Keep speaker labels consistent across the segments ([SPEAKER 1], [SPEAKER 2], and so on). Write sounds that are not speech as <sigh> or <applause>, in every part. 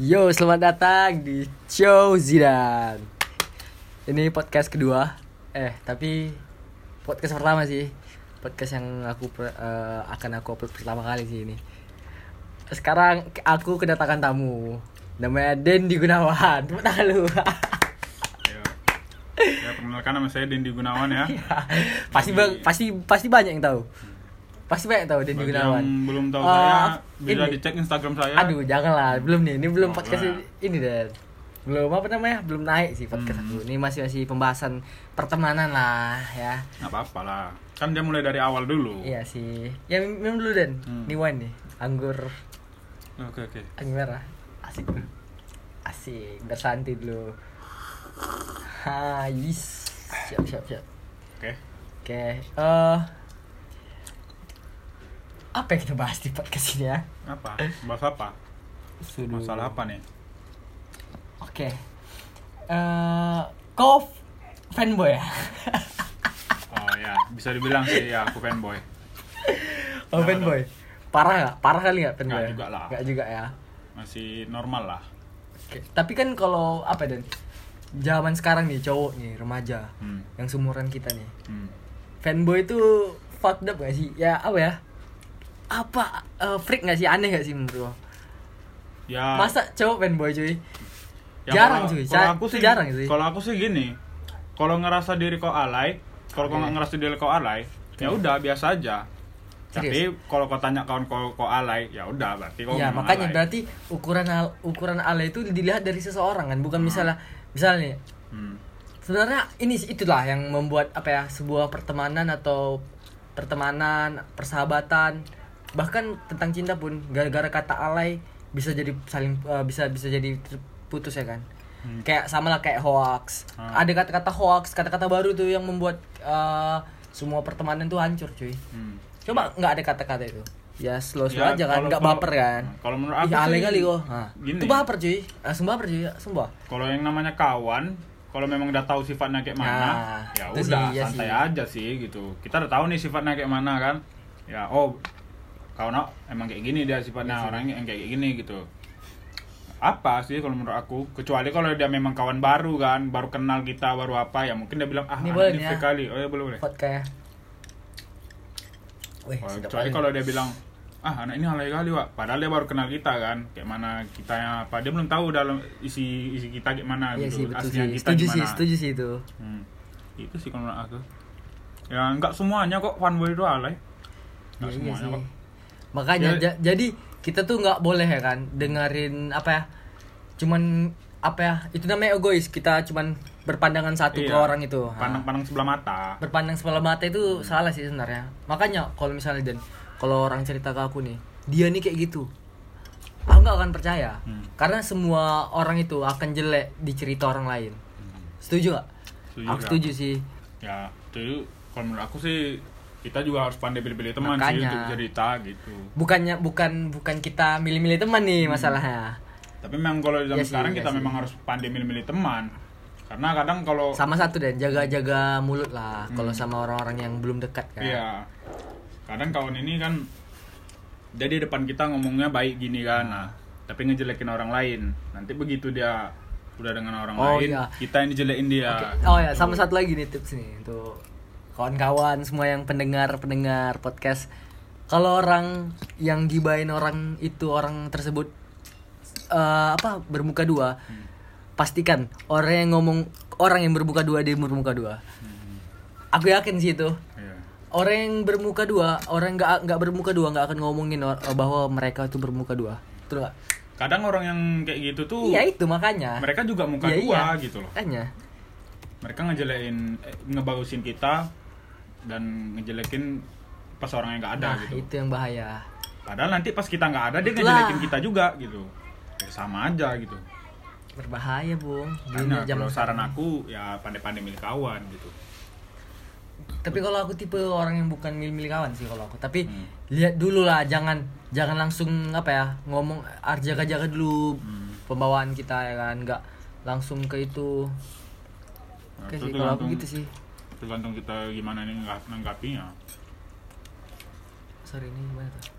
[SPEAKER 1] Yo, selamat datang di Show Zidan. Ini podcast kedua. Eh, tapi podcast pertama sih. Podcast yang aku per- eh, akan aku upload pertama kali sih ini. Sekarang aku kedatangan tamu. Namanya Dendi Gunawan. Tepuk tangan lu. <laughs>
[SPEAKER 2] Ayo. Ya, perkenalkan nama saya Dendi Gunawan ya.
[SPEAKER 1] Iya. pasti bang, pasti pasti banyak yang tahu. Pasti Iya. banyak yang tahu Dendi
[SPEAKER 2] Bagi
[SPEAKER 1] Gunawan.
[SPEAKER 2] yang belum tahu
[SPEAKER 1] Eh,
[SPEAKER 2] saya, bisa
[SPEAKER 1] ini-
[SPEAKER 2] dicek Instagram saya.
[SPEAKER 1] Aduh, janganlah. Belum nih. Ini belum
[SPEAKER 2] Oh,
[SPEAKER 1] podcast
[SPEAKER 2] enggak.
[SPEAKER 1] ini dan belum apa namanya? Belum naik sih
[SPEAKER 2] Hmm.
[SPEAKER 1] podcast aku. Ini masih masih pembahasan pertemanan lah ya.
[SPEAKER 2] Nggak apa-apa lah. Kan dia mulai dari awal dulu.
[SPEAKER 1] Iya sih. Ya min- minum dulu dan.
[SPEAKER 2] Hmm.
[SPEAKER 1] Nih wine nih. Anggur
[SPEAKER 2] Oke, oke.
[SPEAKER 1] anggur merah. Asik. Asik. Bersantai dulu. Ha, yes. Siap, siap, siap.
[SPEAKER 2] Oke.
[SPEAKER 1] Oke. Eh apa yang kita bahas di podcast ini ya?
[SPEAKER 2] Apa? Bahas apa?
[SPEAKER 1] Sudah.
[SPEAKER 2] Masalah apa nih?
[SPEAKER 1] Oke. Eh, kau f- fanboy ya?
[SPEAKER 2] Oh ya, bisa dibilang sih ya aku fanboy.
[SPEAKER 1] oh, fanboy. Parah nggak? Parah kali nggak fanboy?
[SPEAKER 2] Nggak juga lah.
[SPEAKER 1] Nggak juga ya.
[SPEAKER 2] Masih normal lah.
[SPEAKER 1] Oke. Tapi kan kalau apa dan zaman sekarang nih cowok nih remaja
[SPEAKER 2] Hmm.
[SPEAKER 1] yang seumuran kita nih.
[SPEAKER 2] Hmm.
[SPEAKER 1] Fanboy itu fucked up gak sih? Ya apa ya? Apa eh, freak gak sih? Aneh gak sih menurut lo?
[SPEAKER 2] Ya.
[SPEAKER 1] Masa cowok fanboy cuy?
[SPEAKER 2] ya
[SPEAKER 1] jarang
[SPEAKER 2] kalau-
[SPEAKER 1] cuy.
[SPEAKER 2] Kalau
[SPEAKER 1] Sa-
[SPEAKER 2] aku
[SPEAKER 1] itu
[SPEAKER 2] sih
[SPEAKER 1] jarang sih.
[SPEAKER 2] Kalau aku sih gini. Kalau ngerasa diri kau alay, kalau kau nggak ngerasa diri kau alay, ya udah biasa aja. Tapi kalau kau tanya kawan kau kau alay, ya udah berarti kau
[SPEAKER 1] ya
[SPEAKER 2] memang
[SPEAKER 1] makanya
[SPEAKER 2] alay.
[SPEAKER 1] berarti ukuran al- ukuran ala itu dilihat dari seseorang kan
[SPEAKER 2] Ah.
[SPEAKER 1] bukan misalnya misalnya nih,
[SPEAKER 2] Hmm.
[SPEAKER 1] sebenarnya ini sih, itulah yang membuat apa ya sebuah pertemanan atau pertemanan persahabatan bahkan tentang cinta pun gara-gara kata alay bisa jadi saling eh, bisa bisa jadi ter- putus ya kan
[SPEAKER 2] Hmm.
[SPEAKER 1] kayak sama lah kayak hoax
[SPEAKER 2] Hmm.
[SPEAKER 1] ada kata-kata hoax kata-kata baru tuh yang membuat eh, semua pertemanan tuh hancur cuy
[SPEAKER 2] Hmm.
[SPEAKER 1] coba nggak ada kata-kata itu ya slow slow
[SPEAKER 2] Ya,
[SPEAKER 1] aja kan
[SPEAKER 2] kalau-
[SPEAKER 1] nggak
[SPEAKER 2] kalau-
[SPEAKER 1] baper kan
[SPEAKER 2] kalau menurut aku
[SPEAKER 1] Ih, alay
[SPEAKER 2] sih
[SPEAKER 1] kali kok Hah.
[SPEAKER 2] gini.
[SPEAKER 1] itu baper cuy langsung baper cuy sumpah
[SPEAKER 2] Kalau yang namanya kawan, kalau memang udah tahu sifatnya kayak mana,
[SPEAKER 1] Nah,
[SPEAKER 2] ya
[SPEAKER 1] itu
[SPEAKER 2] udah
[SPEAKER 1] sih, iya
[SPEAKER 2] santai
[SPEAKER 1] sih.
[SPEAKER 2] aja sih gitu. Kita udah tahu nih sifatnya kayak mana kan. Ya oh kawan aku emang kayak gini dia
[SPEAKER 1] Iya
[SPEAKER 2] sifatnya
[SPEAKER 1] sih.
[SPEAKER 2] orangnya yang kayak gini gitu. Apa sih kalau menurut aku? Kecuali kalau dia memang kawan baru kan, baru kenal kita, baru apa ya mungkin dia bilang ah
[SPEAKER 1] Ini
[SPEAKER 2] ini
[SPEAKER 1] boleh
[SPEAKER 2] ini
[SPEAKER 1] nih, ya.
[SPEAKER 2] fake kali. Oh ya boleh boleh.
[SPEAKER 1] hot kayak Wih,
[SPEAKER 2] Oh,
[SPEAKER 1] sedap
[SPEAKER 2] kecuali
[SPEAKER 1] banget.
[SPEAKER 2] kalau dia bilang ah anak ini alay kali wak padahal dia baru kenal kita kan kayak mana kita yang apa dia belum tahu dalam isi isi kita kayak mana
[SPEAKER 1] Iya sih betul
[SPEAKER 2] gitu aslinya
[SPEAKER 1] sih.
[SPEAKER 2] kita
[SPEAKER 1] Setuju sih,
[SPEAKER 2] gimana
[SPEAKER 1] setuju sih itu.
[SPEAKER 2] Hmm. itu sih kalau menurut aku ya nggak semuanya kok fanboy itu alay
[SPEAKER 1] Iya,
[SPEAKER 2] nggak
[SPEAKER 1] iya
[SPEAKER 2] semuanya
[SPEAKER 1] sih.
[SPEAKER 2] kok
[SPEAKER 1] Makanya
[SPEAKER 2] Ya.
[SPEAKER 1] ja- jadi kita tuh nggak boleh ya kan dengerin apa ya? Cuman apa ya? Itu namanya egois. Kita cuman berpandangan satu ke
[SPEAKER 2] Iya.
[SPEAKER 1] orang itu. Ah. Hah.
[SPEAKER 2] pandang pandang sebelah mata
[SPEAKER 1] berpandang sebelah mata itu salah sih sebenarnya makanya kalau misalnya dan kalau orang cerita ke aku nih dia nih kayak gitu aku nggak akan percaya
[SPEAKER 2] Hmm.
[SPEAKER 1] karena semua orang itu akan jelek di cerita orang lain setuju gak?
[SPEAKER 2] Hmm. Setuju,
[SPEAKER 1] aku
[SPEAKER 2] Kak.
[SPEAKER 1] setuju sih
[SPEAKER 2] ya itu kalau menurut aku sih kita juga harus pandai pilih-pilih teman sih
[SPEAKER 1] Makanya.
[SPEAKER 2] untuk cerita gitu
[SPEAKER 1] bukannya bukan bukan kita milih-milih teman nih
[SPEAKER 2] Hmm.
[SPEAKER 1] masalahnya
[SPEAKER 2] tapi memang kalau di zaman
[SPEAKER 1] Iya sih,
[SPEAKER 2] sekarang
[SPEAKER 1] iya
[SPEAKER 2] kita
[SPEAKER 1] sih.
[SPEAKER 2] memang harus pandai milih-milih teman karena kadang kalau
[SPEAKER 1] sama satu dan jaga-jaga mulut lah kalau sama orang-orang yang belum dekat kan
[SPEAKER 2] Hmm. Iya. Kadang kawan ini kan dia di depan kita ngomongnya baik gini kan.
[SPEAKER 1] Hmm.
[SPEAKER 2] Nah, tapi ngejelekin orang lain. Nanti begitu dia udah dengan orang
[SPEAKER 1] Oh,
[SPEAKER 2] lain,
[SPEAKER 1] iya.
[SPEAKER 2] kita yang dijelekin dia.
[SPEAKER 1] Oke. Oh ya, sama satu lagi nih tips nih untuk kawan-kawan semua yang pendengar-pendengar podcast. Kalau orang yang gibain orang itu orang tersebut eh, apa bermuka dua,
[SPEAKER 2] Hmm.
[SPEAKER 1] pastikan orang yang ngomong orang yang bermuka dua dia bermuka dua. Aku yakin sih itu
[SPEAKER 2] Hmm, Iya.
[SPEAKER 1] orang yang bermuka dua orang nggak nggak bermuka dua nggak akan ngomongin or- eh, bahwa mereka itu bermuka dua. Betul nggak?
[SPEAKER 2] Kadang orang yang kayak gitu tuh
[SPEAKER 1] Iya itu makanya.
[SPEAKER 2] mereka juga muka
[SPEAKER 1] Iya,
[SPEAKER 2] dua
[SPEAKER 1] iya.
[SPEAKER 2] gitu loh.
[SPEAKER 1] Makanya.
[SPEAKER 2] Mereka ngejelekin eh, ngebagusin kita dan ngejelekin pas orang yang nggak ada
[SPEAKER 1] Nah
[SPEAKER 2] gitu.
[SPEAKER 1] itu yang bahaya.
[SPEAKER 2] Padahal nanti pas kita nggak ada dia
[SPEAKER 1] Itulah.
[SPEAKER 2] ngejelekin kita juga gitu. Ya, sama aja gitu.
[SPEAKER 1] berbahaya bung
[SPEAKER 2] Karena
[SPEAKER 1] Dunia zaman
[SPEAKER 2] kalau saran
[SPEAKER 1] sekarang.
[SPEAKER 2] aku ya pandai-pandai milih kawan gitu.
[SPEAKER 1] tapi kalau aku tipe orang yang bukan milih-milih kawan sih kalau aku tapi
[SPEAKER 2] Hmm.
[SPEAKER 1] lihat dulu lah jangan jangan langsung apa ya ngomong harus jaga-jaga dulu
[SPEAKER 2] Hmm.
[SPEAKER 1] pembawaan kita ya kan nggak langsung ke itu
[SPEAKER 2] Nah,
[SPEAKER 1] oke
[SPEAKER 2] itu
[SPEAKER 1] sih kalau aku
[SPEAKER 2] tergantung-
[SPEAKER 1] gitu sih
[SPEAKER 2] tergantung kita gimana nih nanggapinya
[SPEAKER 1] sorry ini gimana tuh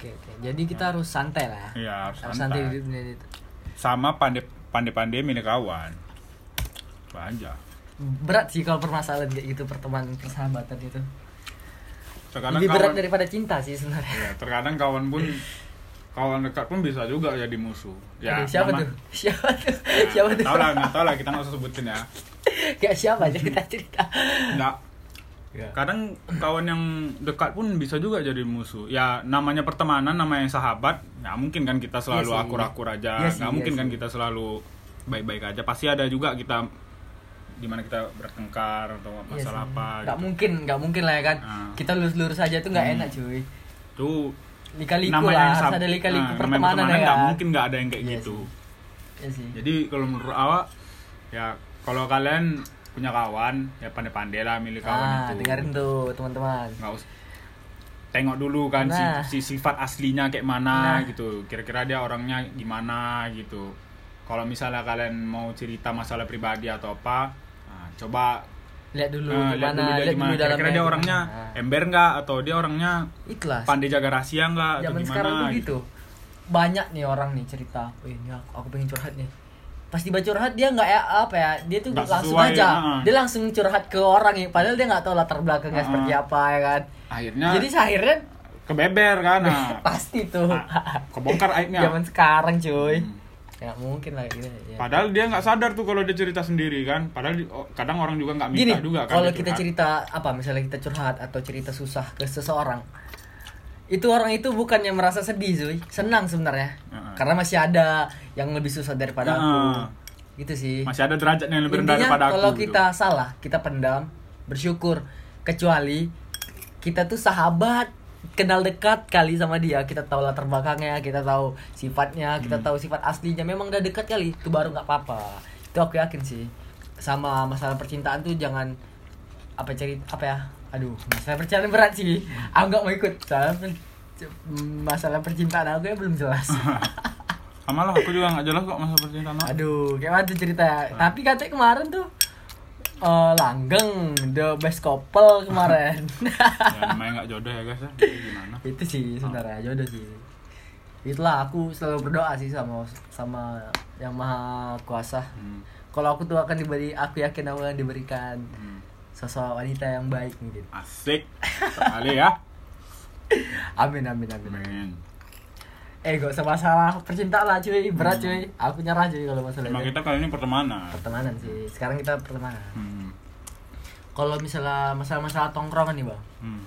[SPEAKER 1] Oke, oke. Jadi kita harus santai lah.
[SPEAKER 2] Nah.
[SPEAKER 1] ya.
[SPEAKER 2] Iya, harus
[SPEAKER 1] Harus santai di
[SPEAKER 2] santai.
[SPEAKER 1] dunia itu.
[SPEAKER 2] Sama pandai pandai pandai milik kawan. Banyak.
[SPEAKER 1] Berat sih kalau permasalahan kayak gitu pertemanan persahabatan itu.
[SPEAKER 2] Terkadang
[SPEAKER 1] Lebih berat
[SPEAKER 2] kawan,
[SPEAKER 1] daripada cinta sih sebenarnya.
[SPEAKER 2] ya, terkadang kawan pun kawan dekat pun bisa juga jadi musuh. Ya,
[SPEAKER 1] Aduh, siapa
[SPEAKER 2] nama-
[SPEAKER 1] tuh? <laughs> Siapa tuh?
[SPEAKER 2] Ya,
[SPEAKER 1] siapa
[SPEAKER 2] nggak
[SPEAKER 1] tuh?
[SPEAKER 2] Tahu lah, nggak tahu lah kita nggak usah sebutin ya.
[SPEAKER 1] Gak siapa cerita cerita. Iya
[SPEAKER 2] Nggak. Kadang kawan yang dekat pun bisa juga jadi musuh. Ya namanya pertemanan, namanya sahabat, nggak mungkin kan kita
[SPEAKER 1] Iya
[SPEAKER 2] selalu
[SPEAKER 1] sih.
[SPEAKER 2] akur-akur aja.
[SPEAKER 1] Iya
[SPEAKER 2] Nggak
[SPEAKER 1] sih, iya
[SPEAKER 2] mungkin kan
[SPEAKER 1] sih.
[SPEAKER 2] kita selalu baik-baik aja. Pasti ada juga kita dimana kita bertengkar atau
[SPEAKER 1] Iya
[SPEAKER 2] masalah
[SPEAKER 1] Gak
[SPEAKER 2] apa. gitu.
[SPEAKER 1] mungkin, gak mungkin lah ya kan.
[SPEAKER 2] Ah.
[SPEAKER 1] Kita lurus-lurus aja tuh gak enak cuy.
[SPEAKER 2] Itu
[SPEAKER 1] Lika-liku
[SPEAKER 2] gitu.
[SPEAKER 1] lah,
[SPEAKER 2] namanya yang
[SPEAKER 1] harus
[SPEAKER 2] sab-
[SPEAKER 1] ada lika-liku
[SPEAKER 2] nah, namanya
[SPEAKER 1] pertemanan ya.
[SPEAKER 2] nggak
[SPEAKER 1] kan?
[SPEAKER 2] mungkin nggak ada yang kayak
[SPEAKER 1] Iya
[SPEAKER 2] gitu.
[SPEAKER 1] Iya sih.
[SPEAKER 2] Jadi kalau menurut awak ya kalau kalian punya kawan ya pandai-pandai lah milih kawan
[SPEAKER 1] Ah,
[SPEAKER 2] itu.
[SPEAKER 1] dengerin tuh teman-teman.
[SPEAKER 2] nggak us- tengok dulu kan si-
[SPEAKER 1] Nah.
[SPEAKER 2] si, sifat aslinya kayak
[SPEAKER 1] Nah.
[SPEAKER 2] mana gitu kira-kira dia orangnya gimana gitu kalau misalnya kalian mau cerita masalah pribadi atau apa nah, coba
[SPEAKER 1] Lihat dulu
[SPEAKER 2] eh, lihat
[SPEAKER 1] gimana,
[SPEAKER 2] dulu dia
[SPEAKER 1] lihat
[SPEAKER 2] gimana
[SPEAKER 1] dulu dalamnya.
[SPEAKER 2] kira-kira dia
[SPEAKER 1] gimana.
[SPEAKER 2] orangnya
[SPEAKER 1] Ah.
[SPEAKER 2] ember nggak atau dia orangnya
[SPEAKER 1] Ikhlas.
[SPEAKER 2] pandai jaga rahasia nggak atau
[SPEAKER 1] Zaman
[SPEAKER 2] gimana
[SPEAKER 1] sekarang tuh
[SPEAKER 2] gitu.
[SPEAKER 1] gitu. Banyak nih orang nih cerita, "Wih, ini aku, aku pengen curhat nih." Pas tiba curhat dia nggak ya apa ya, dia tuh
[SPEAKER 2] Nggak
[SPEAKER 1] langsung
[SPEAKER 2] sesuai,
[SPEAKER 1] aja.
[SPEAKER 2] ah.
[SPEAKER 1] Dia langsung curhat ke orang ya, padahal dia nggak tahu latar belakangnya
[SPEAKER 2] Ah.
[SPEAKER 1] seperti apa ya kan.
[SPEAKER 2] akhirnya
[SPEAKER 1] Jadi akhirnya
[SPEAKER 2] kebeber kan
[SPEAKER 1] <laughs>
[SPEAKER 2] nah,
[SPEAKER 1] pasti tuh.
[SPEAKER 2] nah,
[SPEAKER 1] <laughs>
[SPEAKER 2] kebongkar aibnya
[SPEAKER 1] Zaman sekarang cuy.
[SPEAKER 2] Hmm.
[SPEAKER 1] Ya mungkin lah gitu ya.
[SPEAKER 2] padahal dia nggak sadar tuh kalau dia cerita sendiri kan padahal di- oh, kadang orang juga nggak
[SPEAKER 1] Gini,
[SPEAKER 2] minta juga kan
[SPEAKER 1] kalau
[SPEAKER 2] dia
[SPEAKER 1] kita
[SPEAKER 2] curhat.
[SPEAKER 1] cerita apa misalnya kita curhat atau cerita susah ke seseorang, itu orang itu bukannya merasa sedih, cuy. Senang sebenarnya.
[SPEAKER 2] Heeh.
[SPEAKER 1] Karena masih ada yang lebih susah daripada
[SPEAKER 2] Heeh.
[SPEAKER 1] aku. Gitu sih.
[SPEAKER 2] Ah. eh, masih ada derajat yang lebih rendah
[SPEAKER 1] Intinya
[SPEAKER 2] daripada aku
[SPEAKER 1] kalau
[SPEAKER 2] gitu.
[SPEAKER 1] kita salah, kita pendam, bersyukur. Kecuali kita tuh sahabat, kenal dekat kali sama dia, kita tahu latar belakangnya, kita tahu sifatnya,
[SPEAKER 2] Hmm.
[SPEAKER 1] kita tahu sifat aslinya. Memang udah dekat kali, itu baru nggak apa-apa. Itu aku yakin sih. Sama masalah percintaan tuh jangan apa cerita apa ya? Aduh, masalah percintaan berat sih. Aku nggak mau ikut. Soalnya per- masalah percintaan aku ya belum
[SPEAKER 2] <laughs>
[SPEAKER 1] jelas.
[SPEAKER 2] Sama lah, Ah, aku juga gak jelas kok masa percintaan aku.
[SPEAKER 1] Aduh, kayak mana tuh cerita ya? Tapi katanya kemarin tuh eh, langgeng the best couple kemarin. <laughs>
[SPEAKER 2] Ya namanya gak jodoh ya guys ya, Jadi gimana
[SPEAKER 1] itu sih sebenarnya jodoh sih. Itulah aku selalu berdoa sih sama sama yang maha kuasa.
[SPEAKER 2] Hmm,
[SPEAKER 1] Kalau aku tuh akan diberi, aku yakin aku akan diberikan
[SPEAKER 2] hmm.
[SPEAKER 1] sosok wanita yang baik gitu. mungkin.
[SPEAKER 2] Asik Sekali ya
[SPEAKER 1] Amin amin amin.
[SPEAKER 2] Men.
[SPEAKER 1] Eh gak usah masalah percintaan lah cuy, berat cuy. Aku nyerah cuy kalau masalah
[SPEAKER 2] Emang
[SPEAKER 1] itu.
[SPEAKER 2] kita kali ini pertemanan
[SPEAKER 1] Pertemanan sih. Sekarang kita pertemanan.
[SPEAKER 2] Hmm,
[SPEAKER 1] Kalau misalnya masalah-masalah tongkrongan nih bang.
[SPEAKER 2] hmm.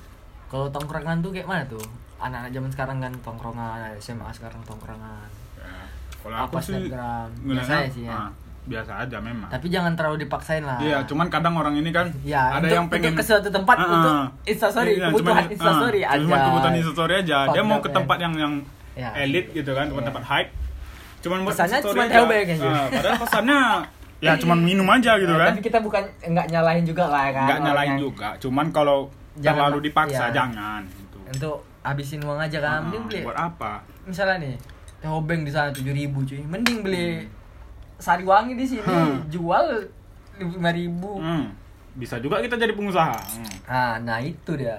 [SPEAKER 1] Kalau tongkrongan tuh kayak mana tuh? Anak-anak zaman sekarang kan tongkrongan, SMA sekarang tongkrongan.
[SPEAKER 2] Ya, Kalau
[SPEAKER 1] Apa
[SPEAKER 2] aku sih
[SPEAKER 1] Snapgram?
[SPEAKER 2] ngeliatnya-
[SPEAKER 1] Biasa ya sih ya.
[SPEAKER 2] ah, Biasa aja memang
[SPEAKER 1] Tapi jangan terlalu dipaksain lah.
[SPEAKER 2] Iya, cuman kadang orang ini kan
[SPEAKER 1] Ya,
[SPEAKER 2] ada
[SPEAKER 1] untuk-
[SPEAKER 2] yang pengen
[SPEAKER 1] untuk ke suatu tempat,
[SPEAKER 2] Ah,
[SPEAKER 1] untuk
[SPEAKER 2] ah.
[SPEAKER 1] instastory,
[SPEAKER 2] Iya,
[SPEAKER 1] kebutuhan
[SPEAKER 2] cuman-
[SPEAKER 1] instastory
[SPEAKER 2] ah, Cuman
[SPEAKER 1] aja.
[SPEAKER 2] kebutuhan instastory aja. Dia
[SPEAKER 1] Fucked
[SPEAKER 2] mau
[SPEAKER 1] up,
[SPEAKER 2] ke
[SPEAKER 1] ya.
[SPEAKER 2] tempat yang yang
[SPEAKER 1] Ya. Iya.
[SPEAKER 2] elit gitu kan, tempat-tempat hype. Cuman buat
[SPEAKER 1] Pesannya ya,
[SPEAKER 2] instastory
[SPEAKER 1] cuman
[SPEAKER 2] aja.
[SPEAKER 1] throwback aja.
[SPEAKER 2] Ah, padahal
[SPEAKER 1] <laughs>
[SPEAKER 2] pesannya ya cuman minum aja gitu
[SPEAKER 1] Eh,
[SPEAKER 2] kan.
[SPEAKER 1] Tapi kita bukan nggak nyalahin juga lah kan.
[SPEAKER 2] Enggak
[SPEAKER 1] orang
[SPEAKER 2] nyalain
[SPEAKER 1] yang-
[SPEAKER 2] juga, cuman kalau
[SPEAKER 1] Jangan,
[SPEAKER 2] terlalu
[SPEAKER 1] iya.
[SPEAKER 2] dipaksa jangan gitu.
[SPEAKER 1] Untuk habisin uang aja kan.
[SPEAKER 2] Ah,
[SPEAKER 1] Mending beli.
[SPEAKER 2] buat apa?
[SPEAKER 1] Misalnya nih, teh obeng di sana 7.000 cuy. Mending beli sari wangi di sini
[SPEAKER 2] Hmm.
[SPEAKER 1] jual 5.000.
[SPEAKER 2] Hmm, Bisa juga kita jadi pengusaha. Hmm.
[SPEAKER 1] Ah, nah itu dia.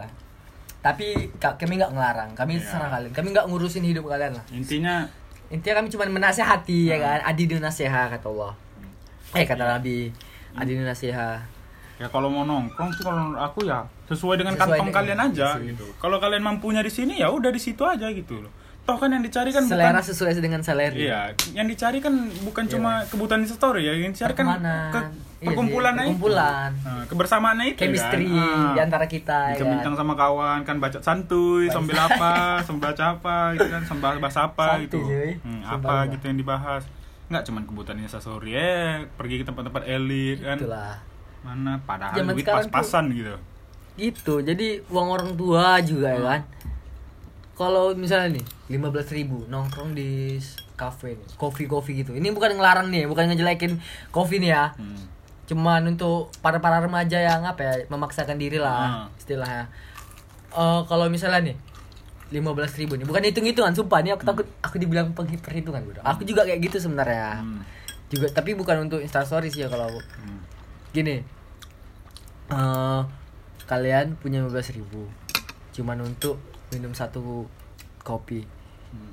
[SPEAKER 1] Tapi ka- kami nggak ngelarang, kami
[SPEAKER 2] Iya.
[SPEAKER 1] serah kalian, kami nggak ngurusin hidup kalian lah.
[SPEAKER 2] Intinya
[SPEAKER 1] Intinya kami cuma menasehati
[SPEAKER 2] Hmm.
[SPEAKER 1] ya kan, adidu nasiha kata Allah. Eh
[SPEAKER 2] Iya.
[SPEAKER 1] kata Nabi, adidu nasiha.
[SPEAKER 2] ya kalau mau nongkrong sih kalau menurut aku ya sesuai dengan
[SPEAKER 1] Sesuai
[SPEAKER 2] kantong
[SPEAKER 1] dengan-
[SPEAKER 2] kalian aja
[SPEAKER 1] iya sih.
[SPEAKER 2] gitu. Kalau kalian mampunya di sini ya udah di situ aja gitu loh. Toh kan yang dicari kan
[SPEAKER 1] selera
[SPEAKER 2] bukan
[SPEAKER 1] sesuai dengan selera.
[SPEAKER 2] Iya, yang dicari kan bukan
[SPEAKER 1] Iya.
[SPEAKER 2] cuma kebutuhan instastory ya, yang dicari kan
[SPEAKER 1] Pertemanan.
[SPEAKER 2] ke,
[SPEAKER 1] Iya sih,
[SPEAKER 2] perkumpulan aja.
[SPEAKER 1] perkumpulan.
[SPEAKER 2] kebersamaannya itu
[SPEAKER 1] Chemistry
[SPEAKER 2] kan. Ah.
[SPEAKER 1] di antara kita ya kan.
[SPEAKER 2] Bincang-bincang sama kawan kan baca santuy sambil
[SPEAKER 1] <laughs>
[SPEAKER 2] apa, sambil baca apa gitu kan, sambil bahas apa
[SPEAKER 1] Santuy,
[SPEAKER 2] gitu.
[SPEAKER 1] cuy.
[SPEAKER 2] Hmm,
[SPEAKER 1] Sambil
[SPEAKER 2] apa
[SPEAKER 1] apa.
[SPEAKER 2] gitu yang dibahas. Enggak cuman kebutuhannya sasori eh pergi ke tempat-tempat elit kan.
[SPEAKER 1] Itulah.
[SPEAKER 2] Mana padahal
[SPEAKER 1] Zaman
[SPEAKER 2] duit
[SPEAKER 1] sekarang
[SPEAKER 2] pas-pasan gitu.
[SPEAKER 1] Gitu. Jadi uang orang tua juga ya kan. Kalau misalnya nih 15.000 nongkrong di s- kafe nih, kopi-kopi gitu. Ini bukan ngelarang nih, bukan ngejelekin kopi nih ya.
[SPEAKER 2] Hmm.
[SPEAKER 1] cuman untuk para para remaja yang apa ya memaksakan diri lah
[SPEAKER 2] Hmm.
[SPEAKER 1] istilahnya Eh, kalau misalnya nih 15.000 ribu nih bukan hitung hitungan sumpah nih aku
[SPEAKER 2] Hmm.
[SPEAKER 1] takut aku dibilang penghi- perhitungan bro aku juga kayak gitu sebenarnya
[SPEAKER 2] Hmm.
[SPEAKER 1] juga tapi bukan untuk instastory sih ya kalau aku.
[SPEAKER 2] Hmm.
[SPEAKER 1] gini eh kalian punya 15.000 ribu cuman untuk minum satu kopi
[SPEAKER 2] Hmm.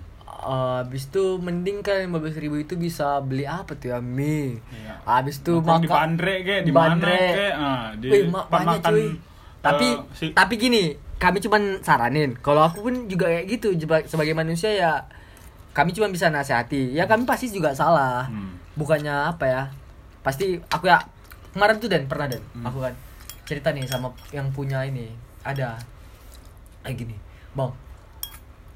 [SPEAKER 1] habis itu mending kan 15 ribu itu bisa beli apa tuh ya mie
[SPEAKER 2] Iya.
[SPEAKER 1] habis itu makan
[SPEAKER 2] Nongkrong di Bandre kek, di mana
[SPEAKER 1] Bandre.
[SPEAKER 2] kek, ah, di
[SPEAKER 1] Wih, ma-
[SPEAKER 2] tempat
[SPEAKER 1] banyak,
[SPEAKER 2] makan,
[SPEAKER 1] cuy. tapi
[SPEAKER 2] eh, si-
[SPEAKER 1] tapi gini kami cuman saranin kalau aku pun juga kayak gitu jeba- sebagai manusia ya kami cuma bisa nasihati ya kami pasti juga salah
[SPEAKER 2] Hmm.
[SPEAKER 1] bukannya apa ya pasti aku ya kemarin tuh dan pernah dan
[SPEAKER 2] Hmm.
[SPEAKER 1] aku kan cerita nih sama yang punya ini ada kayak Eh, gini bang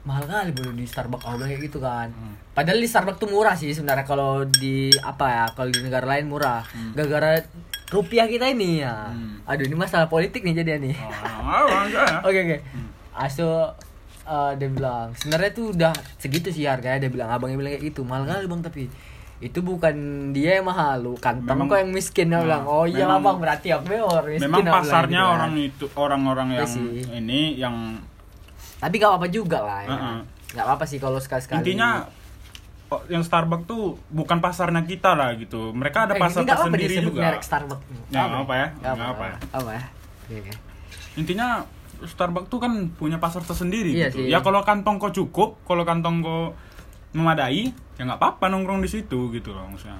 [SPEAKER 1] mahal kali bro di Starbucks awalnya kayak gitu kan
[SPEAKER 2] Hmm.
[SPEAKER 1] padahal di Starbucks tuh murah sih sebenarnya kalau di apa ya kalau di negara lain murah gara-gara rupiah kita ini ya
[SPEAKER 2] Hmm.
[SPEAKER 1] aduh ini masalah politik nih jadi nih
[SPEAKER 2] Oh,
[SPEAKER 1] <laughs>
[SPEAKER 2] Hmm. enggak.
[SPEAKER 1] Oke oke. Aso eh, dia bilang sebenarnya tuh udah segitu sih harganya dia bilang abangnya bilang kayak gitu mahal kali bang tapi itu bukan dia yang mahal lu kan
[SPEAKER 2] Memang-
[SPEAKER 1] kok yang miskin dia
[SPEAKER 2] Nah,
[SPEAKER 1] bilang oh iya
[SPEAKER 2] memang-
[SPEAKER 1] abang berarti aku orang miskin
[SPEAKER 2] Memang
[SPEAKER 1] dia bilang
[SPEAKER 2] pasarnya
[SPEAKER 1] gitu kan.
[SPEAKER 2] orang itu orang-orang
[SPEAKER 1] Iya
[SPEAKER 2] yang
[SPEAKER 1] sih.
[SPEAKER 2] ini yang
[SPEAKER 1] tapi gak apa-apa juga lah ya.
[SPEAKER 2] Heeh.
[SPEAKER 1] gak apa-apa sih kalau sekali sekali
[SPEAKER 2] intinya oh, yang Starbucks tuh bukan pasarnya kita lah gitu.
[SPEAKER 1] Eh,
[SPEAKER 2] Mereka ada pasar tersendiri juga.
[SPEAKER 1] merek Starbucks
[SPEAKER 2] Ya, nggak apa ya,
[SPEAKER 1] Nggak
[SPEAKER 2] nggak apa ya.
[SPEAKER 1] nggak apa ya Oke, oke.
[SPEAKER 2] Intinya Starbucks tuh kan punya pasar tersendiri
[SPEAKER 1] Iya
[SPEAKER 2] gitu.
[SPEAKER 1] sih.
[SPEAKER 2] Ya kalau kantong kau cukup, kalau kantong kau memadai, ya nggak apa-apa nongkrong di situ gitu loh maksudnya.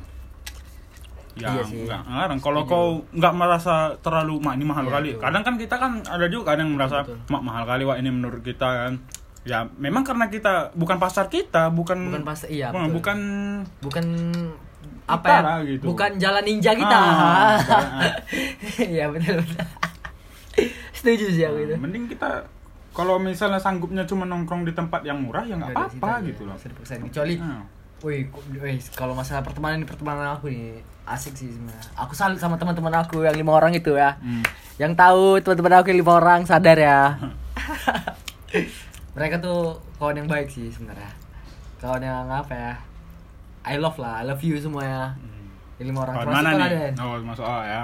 [SPEAKER 2] Ya,
[SPEAKER 1] Iya sih.
[SPEAKER 2] nggak ngarang. Kalau kau nggak merasa terlalu mak ini mahal
[SPEAKER 1] Iya,
[SPEAKER 2] kali.
[SPEAKER 1] betul.
[SPEAKER 2] Kadang kan kita kan ada juga kadang yang merasa
[SPEAKER 1] Betul.
[SPEAKER 2] mak mahal kali wah ini menurut kita kan. Ya, memang karena kita bukan pasar kita, bukan
[SPEAKER 1] bukan pas iya betul.
[SPEAKER 2] Wah, Hmm. bukan
[SPEAKER 1] bukan apa
[SPEAKER 2] Kita
[SPEAKER 1] ya
[SPEAKER 2] lah gitu.
[SPEAKER 1] bukan jalan ninja kita
[SPEAKER 2] Ah,
[SPEAKER 1] <laughs> iya betul betul setuju sih aku itu
[SPEAKER 2] Nah, mending kita kalau misalnya sanggupnya cuma nongkrong di tempat yang murah ya nggak
[SPEAKER 1] Udah, udah,
[SPEAKER 2] apa-apa
[SPEAKER 1] situ aja,
[SPEAKER 2] gitu loh.
[SPEAKER 1] 100%. kecuali
[SPEAKER 2] Ah.
[SPEAKER 1] woi ku- woi, kalau masalah pertemanan ini pertemanan aku nih asik sih sebenarnya aku salut sama teman-teman aku yang lima orang itu ya
[SPEAKER 2] Hmm.
[SPEAKER 1] yang tahu teman-teman aku yang lima orang sadar ya <laughs> mereka tuh kawan yang baik sih sebenarnya kawan yang apa ya I love lah I love you semua ya yang lima orang
[SPEAKER 2] Hmm. Kawan
[SPEAKER 1] Termasuk
[SPEAKER 2] mana
[SPEAKER 1] kau,
[SPEAKER 2] nih?
[SPEAKER 1] Den.
[SPEAKER 2] Oh, masuk oh ya.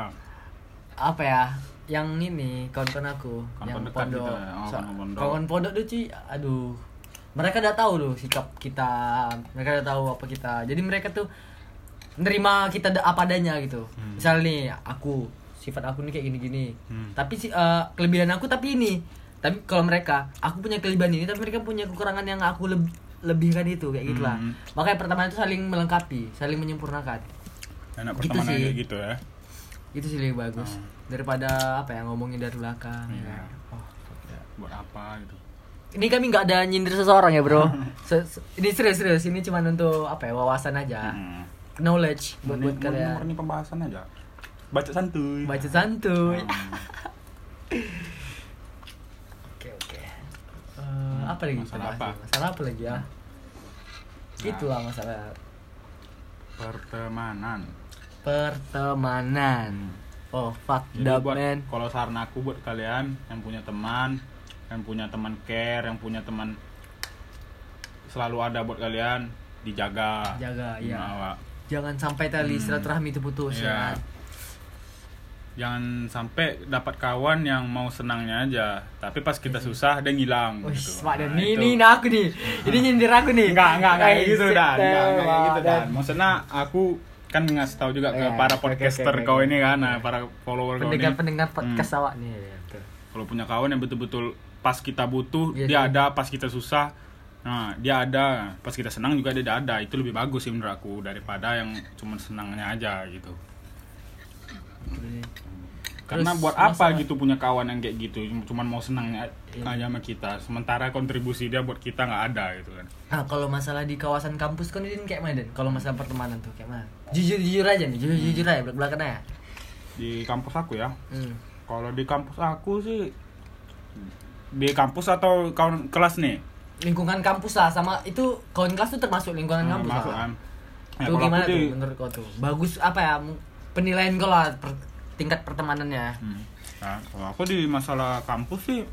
[SPEAKER 1] apa ya yang ini kawan-kawan aku
[SPEAKER 2] Kawan-kawan
[SPEAKER 1] yang
[SPEAKER 2] dekat gitu ya. Oh,
[SPEAKER 1] So-
[SPEAKER 2] kawan pondok.
[SPEAKER 1] kawan pondok tuh cuy aduh mereka udah tahu loh sikap kita mereka udah tahu apa kita jadi mereka tuh nerima kita da- apa adanya gitu
[SPEAKER 2] Hmm.
[SPEAKER 1] misalnya nih aku sifat aku nih kayak gini-gini
[SPEAKER 2] Hmm.
[SPEAKER 1] tapi si- eh, kelebihan aku tapi ini tapi kalau mereka aku punya kelebihan ini tapi mereka punya kekurangan yang aku leb- lebihkan itu kayak gitulah
[SPEAKER 2] Hmm.
[SPEAKER 1] makanya pertemanan itu saling melengkapi saling menyempurnakan
[SPEAKER 2] Enak
[SPEAKER 1] Gitu
[SPEAKER 2] pertemanan
[SPEAKER 1] sih.
[SPEAKER 2] kayak gitu ya.
[SPEAKER 1] itu sih lebih bagus daripada apa ya ngomongin dari belakang
[SPEAKER 2] Ah. Iya.
[SPEAKER 1] ya. Oh.
[SPEAKER 2] Buat apa gitu.
[SPEAKER 1] ini kami nggak ada nyindir seseorang ya
[SPEAKER 2] <laughs>
[SPEAKER 1] bro Se- se- ini serius serius ini cuma untuk apa ya wawasan aja
[SPEAKER 2] Hmm.
[SPEAKER 1] knowledge buat buat
[SPEAKER 2] Mending- mending
[SPEAKER 1] kalian
[SPEAKER 2] murni pembahasan aja. Baca santuy.
[SPEAKER 1] baca santuy
[SPEAKER 2] Hmm.
[SPEAKER 1] oke oke Eh, apa lagi
[SPEAKER 2] Hmm. masalah
[SPEAKER 1] kita bahas?
[SPEAKER 2] apa? Nah.
[SPEAKER 1] masalah apa lagi ya itulah masalah
[SPEAKER 2] Pertemanan.
[SPEAKER 1] pertemanan oh fuck
[SPEAKER 2] Jadi
[SPEAKER 1] that
[SPEAKER 2] buat
[SPEAKER 1] man
[SPEAKER 2] kalau saran aku buat kalian yang punya teman, yang punya teman care, yang punya teman selalu ada buat kalian dijaga.
[SPEAKER 1] Jaga, iya.
[SPEAKER 2] Dirawat.
[SPEAKER 1] jangan sampai tali
[SPEAKER 2] Hmm.
[SPEAKER 1] silaturahmi itu putus ya
[SPEAKER 2] Iya. Jangan sampai dapat kawan yang mau senangnya aja, tapi pas kita susah dia ngilang.
[SPEAKER 1] Wih, Iya
[SPEAKER 2] gitu.
[SPEAKER 1] Pak Dan,
[SPEAKER 2] Nah,
[SPEAKER 1] nih,
[SPEAKER 2] itu.
[SPEAKER 1] nih, nah aku nih. Ini nyindir aku nih.
[SPEAKER 2] Enggak, enggak, enggak kayak
[SPEAKER 1] Eh,
[SPEAKER 2] gitu
[SPEAKER 1] sit
[SPEAKER 2] dan, enggak,
[SPEAKER 1] down,
[SPEAKER 2] enggak kayak gitu
[SPEAKER 1] Pak
[SPEAKER 2] dan. Maksudnya aku kan ngasih tahu juga ke
[SPEAKER 1] Iya,
[SPEAKER 2] para
[SPEAKER 1] oke, oke,
[SPEAKER 2] podcaster
[SPEAKER 1] oke,
[SPEAKER 2] kau
[SPEAKER 1] oke. Iya.
[SPEAKER 2] ini kan, nah, para follower kau ini.
[SPEAKER 1] Pendengar-pendengar podcast awak nih. ya, betul.
[SPEAKER 2] Kalau punya kawan yang betul-betul pas kita butuh,
[SPEAKER 1] Iya
[SPEAKER 2] dia
[SPEAKER 1] sih.
[SPEAKER 2] ada, pas kita susah, nah dia ada, pas kita senang juga dia ada. Itu lebih bagus sih menurut aku daripada yang cuma senangnya aja gitu. Karena
[SPEAKER 1] Terus
[SPEAKER 2] buat apa
[SPEAKER 1] masalah-
[SPEAKER 2] gitu punya kawan yang kayak gitu, cuman mau senangnya
[SPEAKER 1] Iya.
[SPEAKER 2] aja sama kita. Sementara kontribusi dia buat kita nggak ada gitu kan.
[SPEAKER 1] Nah, kalau masalah di kawasan kampus kan ini kayak mana, Den? Kalau masalah pertemanan tuh kayak mana? Jujur-jujur aja nih, jujur-jujur aja, belak-belakan aja.
[SPEAKER 2] Di kampus aku ya,
[SPEAKER 1] Hmm.
[SPEAKER 2] Kalau di kampus aku sih di kampus atau kawan kelas nih?
[SPEAKER 1] Lingkungan kampus lah sama itu kawan kelas tuh termasuk lingkungan
[SPEAKER 2] Hmm,
[SPEAKER 1] kampus
[SPEAKER 2] masuk
[SPEAKER 1] lah.
[SPEAKER 2] kan? Ya,
[SPEAKER 1] tuh
[SPEAKER 2] kalau
[SPEAKER 1] gimana
[SPEAKER 2] aku di,
[SPEAKER 1] tuh menurut kau tuh? Bagus apa ya? mu- Penilaian kau lah per- tingkat pertemanannya.
[SPEAKER 2] Hmm. Nah, kalau aku di masalah kampus sih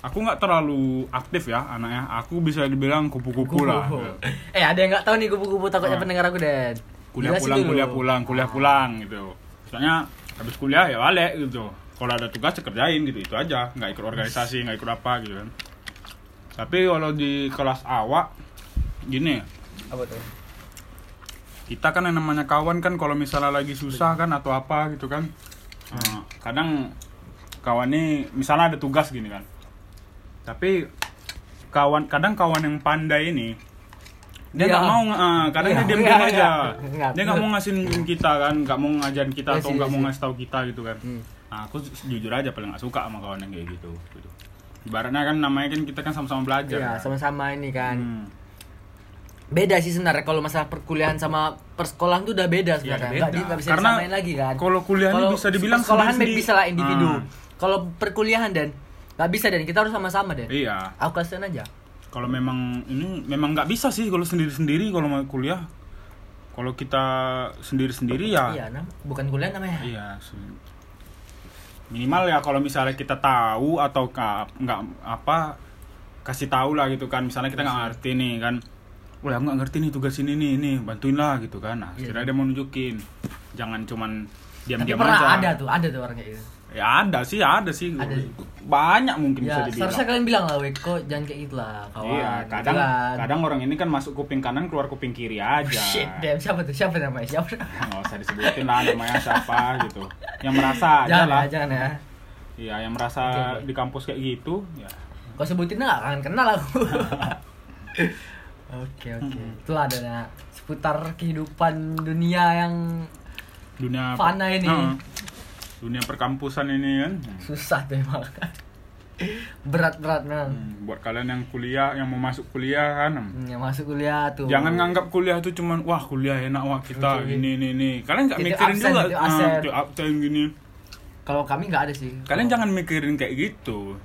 [SPEAKER 2] aku nggak terlalu aktif ya anaknya. Aku bisa dibilang kupu-kupu lah.
[SPEAKER 1] eh,
[SPEAKER 2] Ya,
[SPEAKER 1] ada yang nggak tahu nih kupu-kupu takutnya
[SPEAKER 2] Ah.
[SPEAKER 1] pendengar aku, Den.
[SPEAKER 2] Kuliah
[SPEAKER 1] Jelasin
[SPEAKER 2] pulang,
[SPEAKER 1] dulu. Ah.
[SPEAKER 2] kuliah pulang, kuliah pulang gitu. Misalnya habis kuliah ya balik gitu. Kalau ada tugas ya kerjain gitu itu aja. Nggak ikut organisasi, nggak ikut apa gitu kan. Tapi kalau di kelas awak gini,
[SPEAKER 1] Apa tuh?
[SPEAKER 2] kita kan yang namanya kawan kan kalau misalnya lagi susah kan atau apa gitu kan Eh, kadang kawan nih misalnya ada tugas gini kan tapi kawan kadang kawan yang pandai ini
[SPEAKER 1] Iya.
[SPEAKER 2] dia nggak mau eh, kadang
[SPEAKER 1] Iya,
[SPEAKER 2] dia
[SPEAKER 1] <laughs>
[SPEAKER 2] diam diam
[SPEAKER 1] iya,
[SPEAKER 2] aja
[SPEAKER 1] iya.
[SPEAKER 2] dia nggak mau ngasihin kita kan nggak mau ngajarin kita
[SPEAKER 1] Iya
[SPEAKER 2] atau
[SPEAKER 1] sih,
[SPEAKER 2] nggak
[SPEAKER 1] iya
[SPEAKER 2] mau
[SPEAKER 1] sih.
[SPEAKER 2] ngasih tahu kita gitu kan
[SPEAKER 1] Hmm.
[SPEAKER 2] nah, aku ju- jujur aja paling nggak suka sama kawan yang kayak gitu gitu ibaratnya kan namanya kan kita kan sama-sama belajar
[SPEAKER 1] Iya,
[SPEAKER 2] kan.
[SPEAKER 1] sama-sama ini kan.
[SPEAKER 2] Hmm.
[SPEAKER 1] Beda sih sebenarnya kalau masalah perkuliahan sama persekolahan tuh udah beda sebenarnya.
[SPEAKER 2] Iya,
[SPEAKER 1] Nggak
[SPEAKER 2] beda.
[SPEAKER 1] di- nggak bisa
[SPEAKER 2] Karena
[SPEAKER 1] disamain lagi kan.
[SPEAKER 2] kalau kuliah ini
[SPEAKER 1] Kalau
[SPEAKER 2] bisa dibilang
[SPEAKER 1] persekolahan
[SPEAKER 2] sendiri-sendiri.
[SPEAKER 1] bisa lah individu.
[SPEAKER 2] Ah.
[SPEAKER 1] Kalau perkuliahan dan nggak bisa dan kita harus sama-sama dan.
[SPEAKER 2] iya
[SPEAKER 1] Aku kasihan aja.
[SPEAKER 2] kalau memang ini memang nggak bisa sih kalau sendiri sendiri kalau mau kuliah kalau kita sendiri sendiri ya
[SPEAKER 1] Iya, nam, bukan kuliah namanya.
[SPEAKER 2] Iya sih. Minimal ya kalau misalnya kita tahu atau ka- nggak apa kasih tahu lah gitu kan. Misalnya
[SPEAKER 1] Iya
[SPEAKER 2] kita nggak ngerti nih kan. Wah, aku nggak ngerti nih tugas ini nih, nih bantuin lah gitu kan. Nah,
[SPEAKER 1] Iya.
[SPEAKER 2] kira dia mau nunjukin. Jangan cuman
[SPEAKER 1] Tapi
[SPEAKER 2] diam-diam
[SPEAKER 1] pernah
[SPEAKER 2] aja.
[SPEAKER 1] ada tuh, ada tuh orang kayak gitu.
[SPEAKER 2] Ya ada sih, ada sih.
[SPEAKER 1] Ada.
[SPEAKER 2] Banyak mungkin bisa
[SPEAKER 1] Ya,
[SPEAKER 2] dibilang.
[SPEAKER 1] seharusnya kalian bilang lah, Wek, kok jangan kayak gitu lah, kawan.
[SPEAKER 2] Iya,
[SPEAKER 1] Gitu
[SPEAKER 2] kadang
[SPEAKER 1] kan. <laughs>
[SPEAKER 2] kadang Ya. orang ini kan masuk kuping kanan keluar kuping kiri aja.
[SPEAKER 1] Shit, damn, siapa tuh? Siapa namanya? Siapa?
[SPEAKER 2] Nggak usah disebutin lah namanya siapa gitu. Yang merasa aja
[SPEAKER 1] jangan
[SPEAKER 2] lah.
[SPEAKER 1] ya, jangan ya.
[SPEAKER 2] Iya, yang merasa
[SPEAKER 1] Oke, oke.
[SPEAKER 2] di kampus kayak gitu, ya.
[SPEAKER 1] Kau sebutin nggak akan kenal aku. <laughs> Oke oke, itulah adanya seputar kehidupan dunia yang
[SPEAKER 2] Dunia
[SPEAKER 1] Fana ini.
[SPEAKER 2] Heeh. dunia perkampusan ini kan.
[SPEAKER 1] susah tuh <laughs> emang. berat berat memang.
[SPEAKER 2] Hmm, Buat kalian yang kuliah, yang mau masuk kuliah kan.
[SPEAKER 1] Hmm, Yang masuk kuliah tuh.
[SPEAKER 2] Jangan nganggap kuliah tuh cuman wah kuliah enak wah kita
[SPEAKER 1] Betul.
[SPEAKER 2] ini ini ini. Kalian nggak
[SPEAKER 1] Titik
[SPEAKER 2] mikirin
[SPEAKER 1] absen,
[SPEAKER 2] juga
[SPEAKER 1] titik
[SPEAKER 2] ah,
[SPEAKER 1] absen.
[SPEAKER 2] titik absen gini.
[SPEAKER 1] Kalau kami nggak ada sih.
[SPEAKER 2] Kalian jangan mikirin kayak gitu.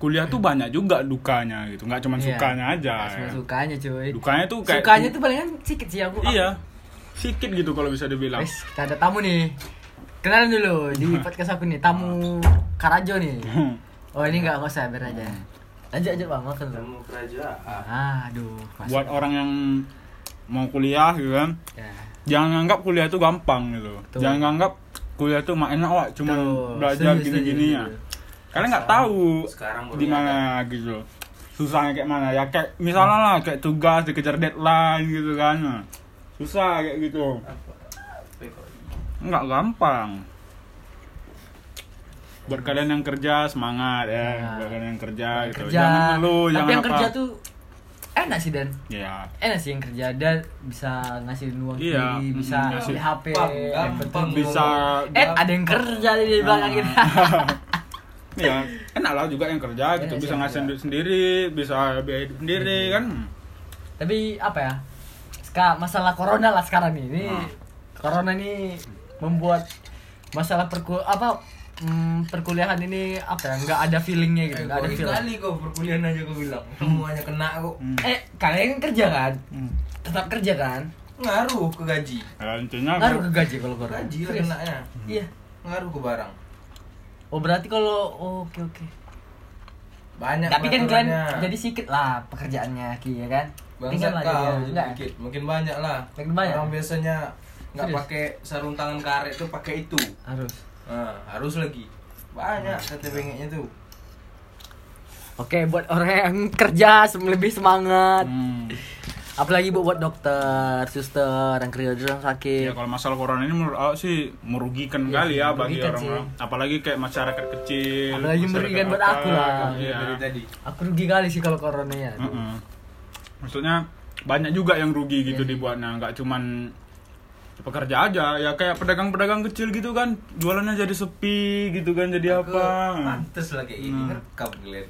[SPEAKER 2] Kuliah tuh banyak juga dukanya gitu, nggak cuman
[SPEAKER 1] Iya.
[SPEAKER 2] sukanya aja.
[SPEAKER 1] Nggak
[SPEAKER 2] ya.
[SPEAKER 1] semua sukanya cuy.
[SPEAKER 2] Dukanya tuh kayak
[SPEAKER 1] Sukanya tuh palingan sedikit sih aku.
[SPEAKER 2] Iya. Sikit gitu kalau bisa dibilang.
[SPEAKER 1] Wes, kita ada tamu nih. Kenalan dulu di podcast aku nih, tamu Karajo nih. Oh ini nggak nggak usah biar aja.
[SPEAKER 2] Hmm.
[SPEAKER 1] Lanjut aja bang makan dulu.
[SPEAKER 3] Kamu kerajaan.
[SPEAKER 1] Ah, aduh. masuk.
[SPEAKER 2] <laughs> Buat orang yang mau kuliah gitu kan.
[SPEAKER 1] Ya.
[SPEAKER 2] jangan nganggap kuliah itu gampang gitu
[SPEAKER 1] Betul.
[SPEAKER 2] jangan nganggap kuliah itu mah enak wah cuma
[SPEAKER 1] Tuh,
[SPEAKER 2] belajar
[SPEAKER 1] setuju,
[SPEAKER 2] gini-gini
[SPEAKER 1] setuju,
[SPEAKER 2] ya
[SPEAKER 1] setuju.
[SPEAKER 2] kalian nggak tahu
[SPEAKER 3] Sekarang baru
[SPEAKER 2] di mana gitu susahnya kayak mana ya kayak misalnya lah kayak tugas dikejar deadline gitu kan nah. susah kayak gitu nggak gampang buat kalian yang kerja semangat ya
[SPEAKER 1] Ya.
[SPEAKER 2] buat kalian yang kerja gitu
[SPEAKER 1] kerja
[SPEAKER 2] jangan dulu
[SPEAKER 1] tapi
[SPEAKER 2] jangan
[SPEAKER 1] yang
[SPEAKER 2] apa
[SPEAKER 1] kerja tuh enak sih dan
[SPEAKER 2] ya
[SPEAKER 1] enak sih yang kerja ada bisa ngasih uang
[SPEAKER 2] Iya,
[SPEAKER 1] sendiri
[SPEAKER 2] mm,
[SPEAKER 1] bisa
[SPEAKER 2] ngasih.
[SPEAKER 1] beli HP yang penting
[SPEAKER 2] bisa
[SPEAKER 1] eh ada yang kerja di
[SPEAKER 2] Nah.
[SPEAKER 1] belakang kita
[SPEAKER 2] <laughs> ya enak lah juga yang kerja gitu
[SPEAKER 1] Enak
[SPEAKER 2] bisa
[SPEAKER 1] sih,
[SPEAKER 2] ngasih
[SPEAKER 1] iya.
[SPEAKER 2] duit sendiri bisa biaya hidup sendiri kan
[SPEAKER 1] <laughs> tapi apa ya Ska, masalah corona lah sekarang nih ini
[SPEAKER 2] Hmm.
[SPEAKER 1] corona ini membuat masalah perku apa mm, perkulihan ini apa ya nggak ada feelingnya gitu nggak ada feel
[SPEAKER 3] kali kok perkuliahan aja kau bilang semuanya kena kok
[SPEAKER 2] Hmm.
[SPEAKER 1] eh kalian kan kerja kan tetap kerja kan
[SPEAKER 3] ngaruh ke gaji
[SPEAKER 2] Nah, intinya
[SPEAKER 1] ngaruh ke gaji kalau corona
[SPEAKER 3] gaji lah
[SPEAKER 1] Serius?
[SPEAKER 3] kenanya
[SPEAKER 1] iya
[SPEAKER 3] ngaruh ke barang
[SPEAKER 1] oh berarti kalau oh, oke oke
[SPEAKER 3] banyak
[SPEAKER 1] Tapi kan kalian
[SPEAKER 3] peraturannya.
[SPEAKER 1] jadi sikit lah pekerjaannya Ki ya kan.
[SPEAKER 3] bangsat
[SPEAKER 1] lah
[SPEAKER 3] kau
[SPEAKER 1] jadinya. Enggak.
[SPEAKER 3] sedikit mungkin banyak lah
[SPEAKER 1] Makin banyak?
[SPEAKER 3] orang biasanya nggak
[SPEAKER 1] Serius?
[SPEAKER 3] pakai sarung tangan karet tuh pakai itu
[SPEAKER 1] Harus.
[SPEAKER 3] nah, harus lagi banyak
[SPEAKER 1] Hmm.
[SPEAKER 3] kata bengeknya tuh
[SPEAKER 1] Oke, buat orang yang kerja sem- lebih semangat.
[SPEAKER 2] Hmm.
[SPEAKER 1] Apalagi buat, buat dokter, suster, yang kerja di rumah sakit.
[SPEAKER 2] ya kalau masalah corona ini menurut aku sih merugikan
[SPEAKER 1] Iya
[SPEAKER 2] kali
[SPEAKER 1] sih,
[SPEAKER 2] ya bagi
[SPEAKER 1] merugikan
[SPEAKER 2] orang orang apalagi kayak masyarakat kecil
[SPEAKER 1] Apalagi
[SPEAKER 2] masyarakat
[SPEAKER 1] merugikan buat
[SPEAKER 2] apa,
[SPEAKER 1] aku lah.
[SPEAKER 2] iya.
[SPEAKER 3] dari tadi
[SPEAKER 1] Aku rugi kali sih kalau corona ya.
[SPEAKER 2] Mm-mm. maksudnya banyak juga yang rugi gitu
[SPEAKER 1] Iya.
[SPEAKER 2] dibuatnya nggak cuman pekerja aja ya kayak pedagang-pedagang kecil gitu kan jualannya jadi sepi gitu kan jadi
[SPEAKER 3] Aku
[SPEAKER 2] apa
[SPEAKER 3] pantes lah kayak ini
[SPEAKER 2] Hmm.
[SPEAKER 3] rekam kalian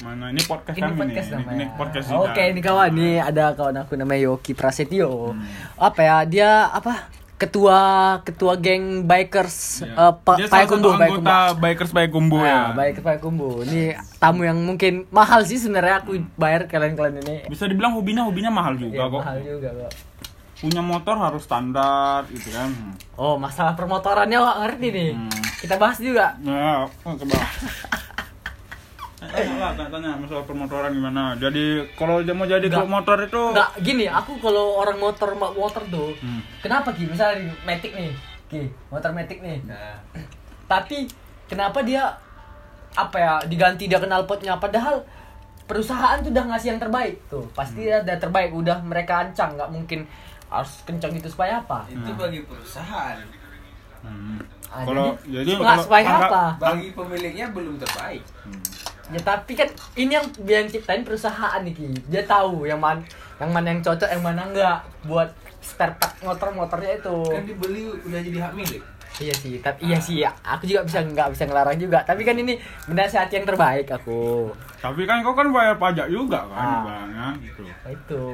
[SPEAKER 2] mana ini podcast
[SPEAKER 1] Ini
[SPEAKER 2] kami
[SPEAKER 1] podcast
[SPEAKER 2] nih
[SPEAKER 1] namanya.
[SPEAKER 2] ini podcast
[SPEAKER 1] Oke,
[SPEAKER 2] kita.
[SPEAKER 1] ini kawan nih ada kawan aku namanya Yoki Prasetyo.
[SPEAKER 2] Hmm.
[SPEAKER 1] Apa ya? Dia apa? Ketua ketua geng bikers
[SPEAKER 2] Iya.
[SPEAKER 1] eh, pa-
[SPEAKER 2] Dia salah satu
[SPEAKER 1] Payakumbuh,
[SPEAKER 2] anggota
[SPEAKER 1] Payakumbuh.
[SPEAKER 2] bikers Payakumbu ya.
[SPEAKER 1] Nah, baik Pak Kumbu. Ini tamu yang mungkin mahal sih sebenarnya aku bayar kalian-kalian ini.
[SPEAKER 2] Bisa dibilang hobinya hobinya mahal
[SPEAKER 1] Ya,
[SPEAKER 2] juga kok.
[SPEAKER 1] mahal juga kok.
[SPEAKER 2] Punya motor harus standar gitu kan.
[SPEAKER 1] Oh, masalah permotorannya wah ngerti nih.
[SPEAKER 2] Hmm.
[SPEAKER 1] Kita bahas juga.
[SPEAKER 2] Nah, oh,
[SPEAKER 1] <laughs>
[SPEAKER 2] coba. Eh, tanya lah, tanya masalah permotoran gimana. Jadi kalau dia mau jadi
[SPEAKER 1] Nggak.
[SPEAKER 2] klub motor itu
[SPEAKER 1] Enggak, gini, aku kalau orang motor ma- motor tuh,
[SPEAKER 2] Oh. Hmm.
[SPEAKER 1] kenapa Ki? Misalnya di Matic nih. Ki, motor Matic nih.
[SPEAKER 3] nah
[SPEAKER 1] Tapi kenapa dia apa ya diganti dia kenal potnya padahal perusahaan tuh udah ngasih yang terbaik tuh. Pasti
[SPEAKER 2] Hmm.
[SPEAKER 1] ada terbaik udah mereka ancang, nggak mungkin harus kencang itu supaya apa?
[SPEAKER 3] itu bagi perusahaan
[SPEAKER 2] Hmm.
[SPEAKER 1] Ah,
[SPEAKER 2] Kalau- jadi
[SPEAKER 1] supaya,
[SPEAKER 2] kalau-
[SPEAKER 1] supaya
[SPEAKER 2] angga-
[SPEAKER 1] apa?
[SPEAKER 3] bagi pemiliknya belum terbaik
[SPEAKER 1] Ya tapi kan ini yang yang ciptain perusahaan nih Ki. Dia tahu yang mana yang mana yang cocok, yang mana enggak buat spare part motor-motornya itu.
[SPEAKER 3] kan dibeli udah jadi hak milik
[SPEAKER 1] Iya sih, tapi iya sih. ya. Aku juga bisa nggak bisa ngelarang juga. Tapi kan ini menasihati yang terbaik aku.
[SPEAKER 2] Tapi kan kau kan bayar pajak juga kan
[SPEAKER 1] Ah.
[SPEAKER 2] barangnya gitu.
[SPEAKER 1] Nah, itu.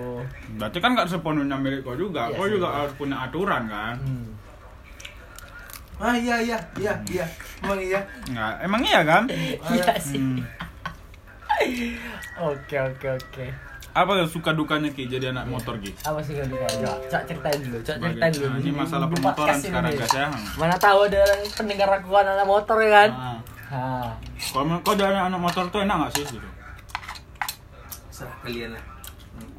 [SPEAKER 2] Berarti kan nggak sepenuhnya milik kau juga.
[SPEAKER 1] Iya
[SPEAKER 2] kau
[SPEAKER 1] sih.
[SPEAKER 2] juga harus punya aturan kan.
[SPEAKER 1] Hmm.
[SPEAKER 3] ah iya iya iya iya emang iya
[SPEAKER 2] Nggak, emang iya kan?
[SPEAKER 1] Iya sih.
[SPEAKER 2] Hmm.
[SPEAKER 1] Oke oke oke.
[SPEAKER 2] Apa tuh suka dukanya Ki jadi anak motor Ki?
[SPEAKER 1] Apa sih kalau kita coba Cok, ceritain dulu, cok ceritain dulu.
[SPEAKER 2] Nah, ini masalah
[SPEAKER 1] Podcast
[SPEAKER 2] pemotoran
[SPEAKER 1] ini.
[SPEAKER 2] sekarang guys ya.
[SPEAKER 1] Mana tahu ada orang pendengar aku anak motor ya kan?
[SPEAKER 2] Nah,
[SPEAKER 1] Hah.
[SPEAKER 2] kalau menurut kau dari anak motor tuh enak nggak sih gitu?
[SPEAKER 3] serah kalian lah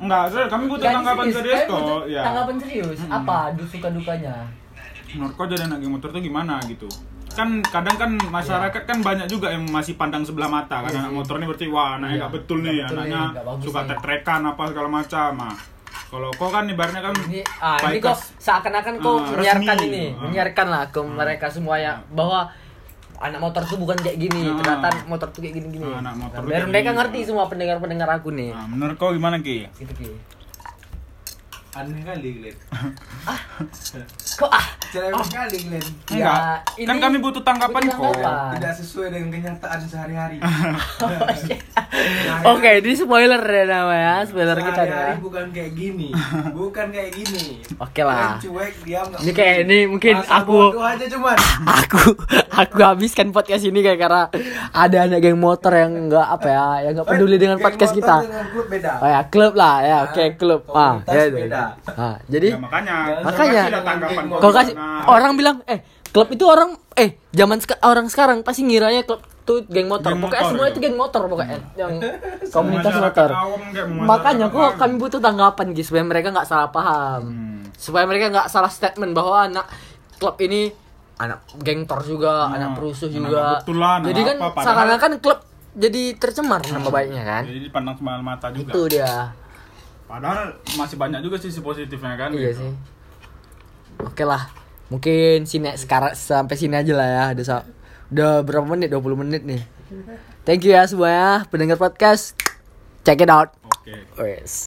[SPEAKER 2] Enggak, serius, kami butuh tanggapan serius kok. Ya.
[SPEAKER 1] Tanggapan serius?
[SPEAKER 2] Mm-mm.
[SPEAKER 1] Apa suka dukanya?
[SPEAKER 2] Menurut kau jadi anak geng motor tuh gimana gitu? Kan kadang kan masyarakat kan banyak juga yang masih pandang sebelah mata kan
[SPEAKER 1] Iya
[SPEAKER 2] anak
[SPEAKER 1] sih.
[SPEAKER 2] motor nih berarti wah anaknya
[SPEAKER 1] Iya,
[SPEAKER 2] nggak betul
[SPEAKER 1] nggak
[SPEAKER 2] nih ya,
[SPEAKER 1] betul
[SPEAKER 2] anaknya
[SPEAKER 1] nih, nggak bagus
[SPEAKER 2] suka
[SPEAKER 1] nih.
[SPEAKER 2] tertrekan apa segala macam. Nah, kalau kau kan ibaratnya kan
[SPEAKER 1] Ini ah ini kok
[SPEAKER 2] paikas-
[SPEAKER 1] seakan-akan kok
[SPEAKER 2] Ah, resmi.
[SPEAKER 1] menyiarkan ini,
[SPEAKER 2] Ah.
[SPEAKER 1] menyiarkan lah ke mereka semua ya bahwa anak motor tuh bukan kayak gini,
[SPEAKER 2] Ah.
[SPEAKER 1] ternyata motor tuh kayak gini-gini.
[SPEAKER 2] Ah, anak motor tuh
[SPEAKER 1] Biar
[SPEAKER 2] kayak
[SPEAKER 1] mereka
[SPEAKER 2] gini.
[SPEAKER 1] ngerti semua pendengar-pendengar aku nih.
[SPEAKER 2] Nah, menurut kau gimana Ki?
[SPEAKER 1] Gitu Ki.
[SPEAKER 3] aneh kali kalian
[SPEAKER 1] Kok ah <laughs> Iya.
[SPEAKER 3] cerewet kali kalian
[SPEAKER 2] Enggak.
[SPEAKER 1] ini-
[SPEAKER 2] kan kami butuh tanggapan
[SPEAKER 1] butuh
[SPEAKER 2] kok.
[SPEAKER 1] tanggapan.
[SPEAKER 3] Iya. tidak sesuai dengan kenyataan
[SPEAKER 1] <laughs>
[SPEAKER 3] sehari-hari
[SPEAKER 2] Nah, ya.
[SPEAKER 1] Oke, ini spoiler ya namanya, spoiler kita nih ya.
[SPEAKER 3] sehari-hari bukan kayak
[SPEAKER 1] <laughs>
[SPEAKER 3] gini bukan kayak gini
[SPEAKER 1] Oke lah.
[SPEAKER 3] Kalian cuek diam nggak
[SPEAKER 1] Ini kayak ini mungkin
[SPEAKER 3] Masa
[SPEAKER 1] aku
[SPEAKER 3] bodoh aja cuman
[SPEAKER 1] aku aku habiskan podcast ini kayak karena ada anak geng motor yang enggak apa ya yang enggak peduli
[SPEAKER 3] Eh,
[SPEAKER 1] dengan
[SPEAKER 3] geng
[SPEAKER 1] podcast
[SPEAKER 3] motor
[SPEAKER 1] kita
[SPEAKER 3] dengan klub beda
[SPEAKER 1] oh ya klub lah ya oke
[SPEAKER 3] Ah,
[SPEAKER 1] klub ah
[SPEAKER 3] komunitas
[SPEAKER 1] ya itu.
[SPEAKER 3] beda.
[SPEAKER 1] Ah, jadi
[SPEAKER 2] Ya, makanya,
[SPEAKER 1] Makanya.
[SPEAKER 2] kasih lah tanggapan
[SPEAKER 3] Kalau
[SPEAKER 1] kalau kasih
[SPEAKER 2] Nah,
[SPEAKER 1] orang bilang eh klub itu orang eh zaman seka- orang sekarang pasti ngiranya klub itu geng motor
[SPEAKER 2] Geng
[SPEAKER 1] pokoknya
[SPEAKER 2] motor,
[SPEAKER 1] semua
[SPEAKER 3] ya.
[SPEAKER 1] itu
[SPEAKER 2] gitu.
[SPEAKER 1] geng motor pokoknya
[SPEAKER 3] Hmm. <laughs>
[SPEAKER 1] yang komunitas
[SPEAKER 2] masyarakat
[SPEAKER 1] motor
[SPEAKER 2] awam kayak masyarakat
[SPEAKER 1] makanya
[SPEAKER 2] awam.
[SPEAKER 1] kok kami butuh tanggapan guys supaya mereka nggak salah paham
[SPEAKER 2] Hmm.
[SPEAKER 1] supaya mereka nggak salah statement bahwa anak klub ini anak geng tor juga,
[SPEAKER 2] Nah,
[SPEAKER 1] anak perusuh
[SPEAKER 2] anak
[SPEAKER 1] juga.
[SPEAKER 2] nggak betul lah, anak
[SPEAKER 1] jadi kan
[SPEAKER 2] apa, padahal-
[SPEAKER 1] seakan-akan klub jadi tercemar nama baiknya kan.
[SPEAKER 2] Hmm. Jadi dipandang sebelah mata Iya juga.
[SPEAKER 1] Itu dia.
[SPEAKER 2] Padahal masih banyak juga sisi positifnya kan.
[SPEAKER 1] Iya
[SPEAKER 2] gitu.
[SPEAKER 1] sih. Oke lah. Mungkin sini sekarang sampai sini aja lah ya. Udah sa- udah berapa menit? 20 menit nih. Thank you ya semuanya pendengar podcast. ya, Check it out.
[SPEAKER 2] Oke.
[SPEAKER 1] Wes.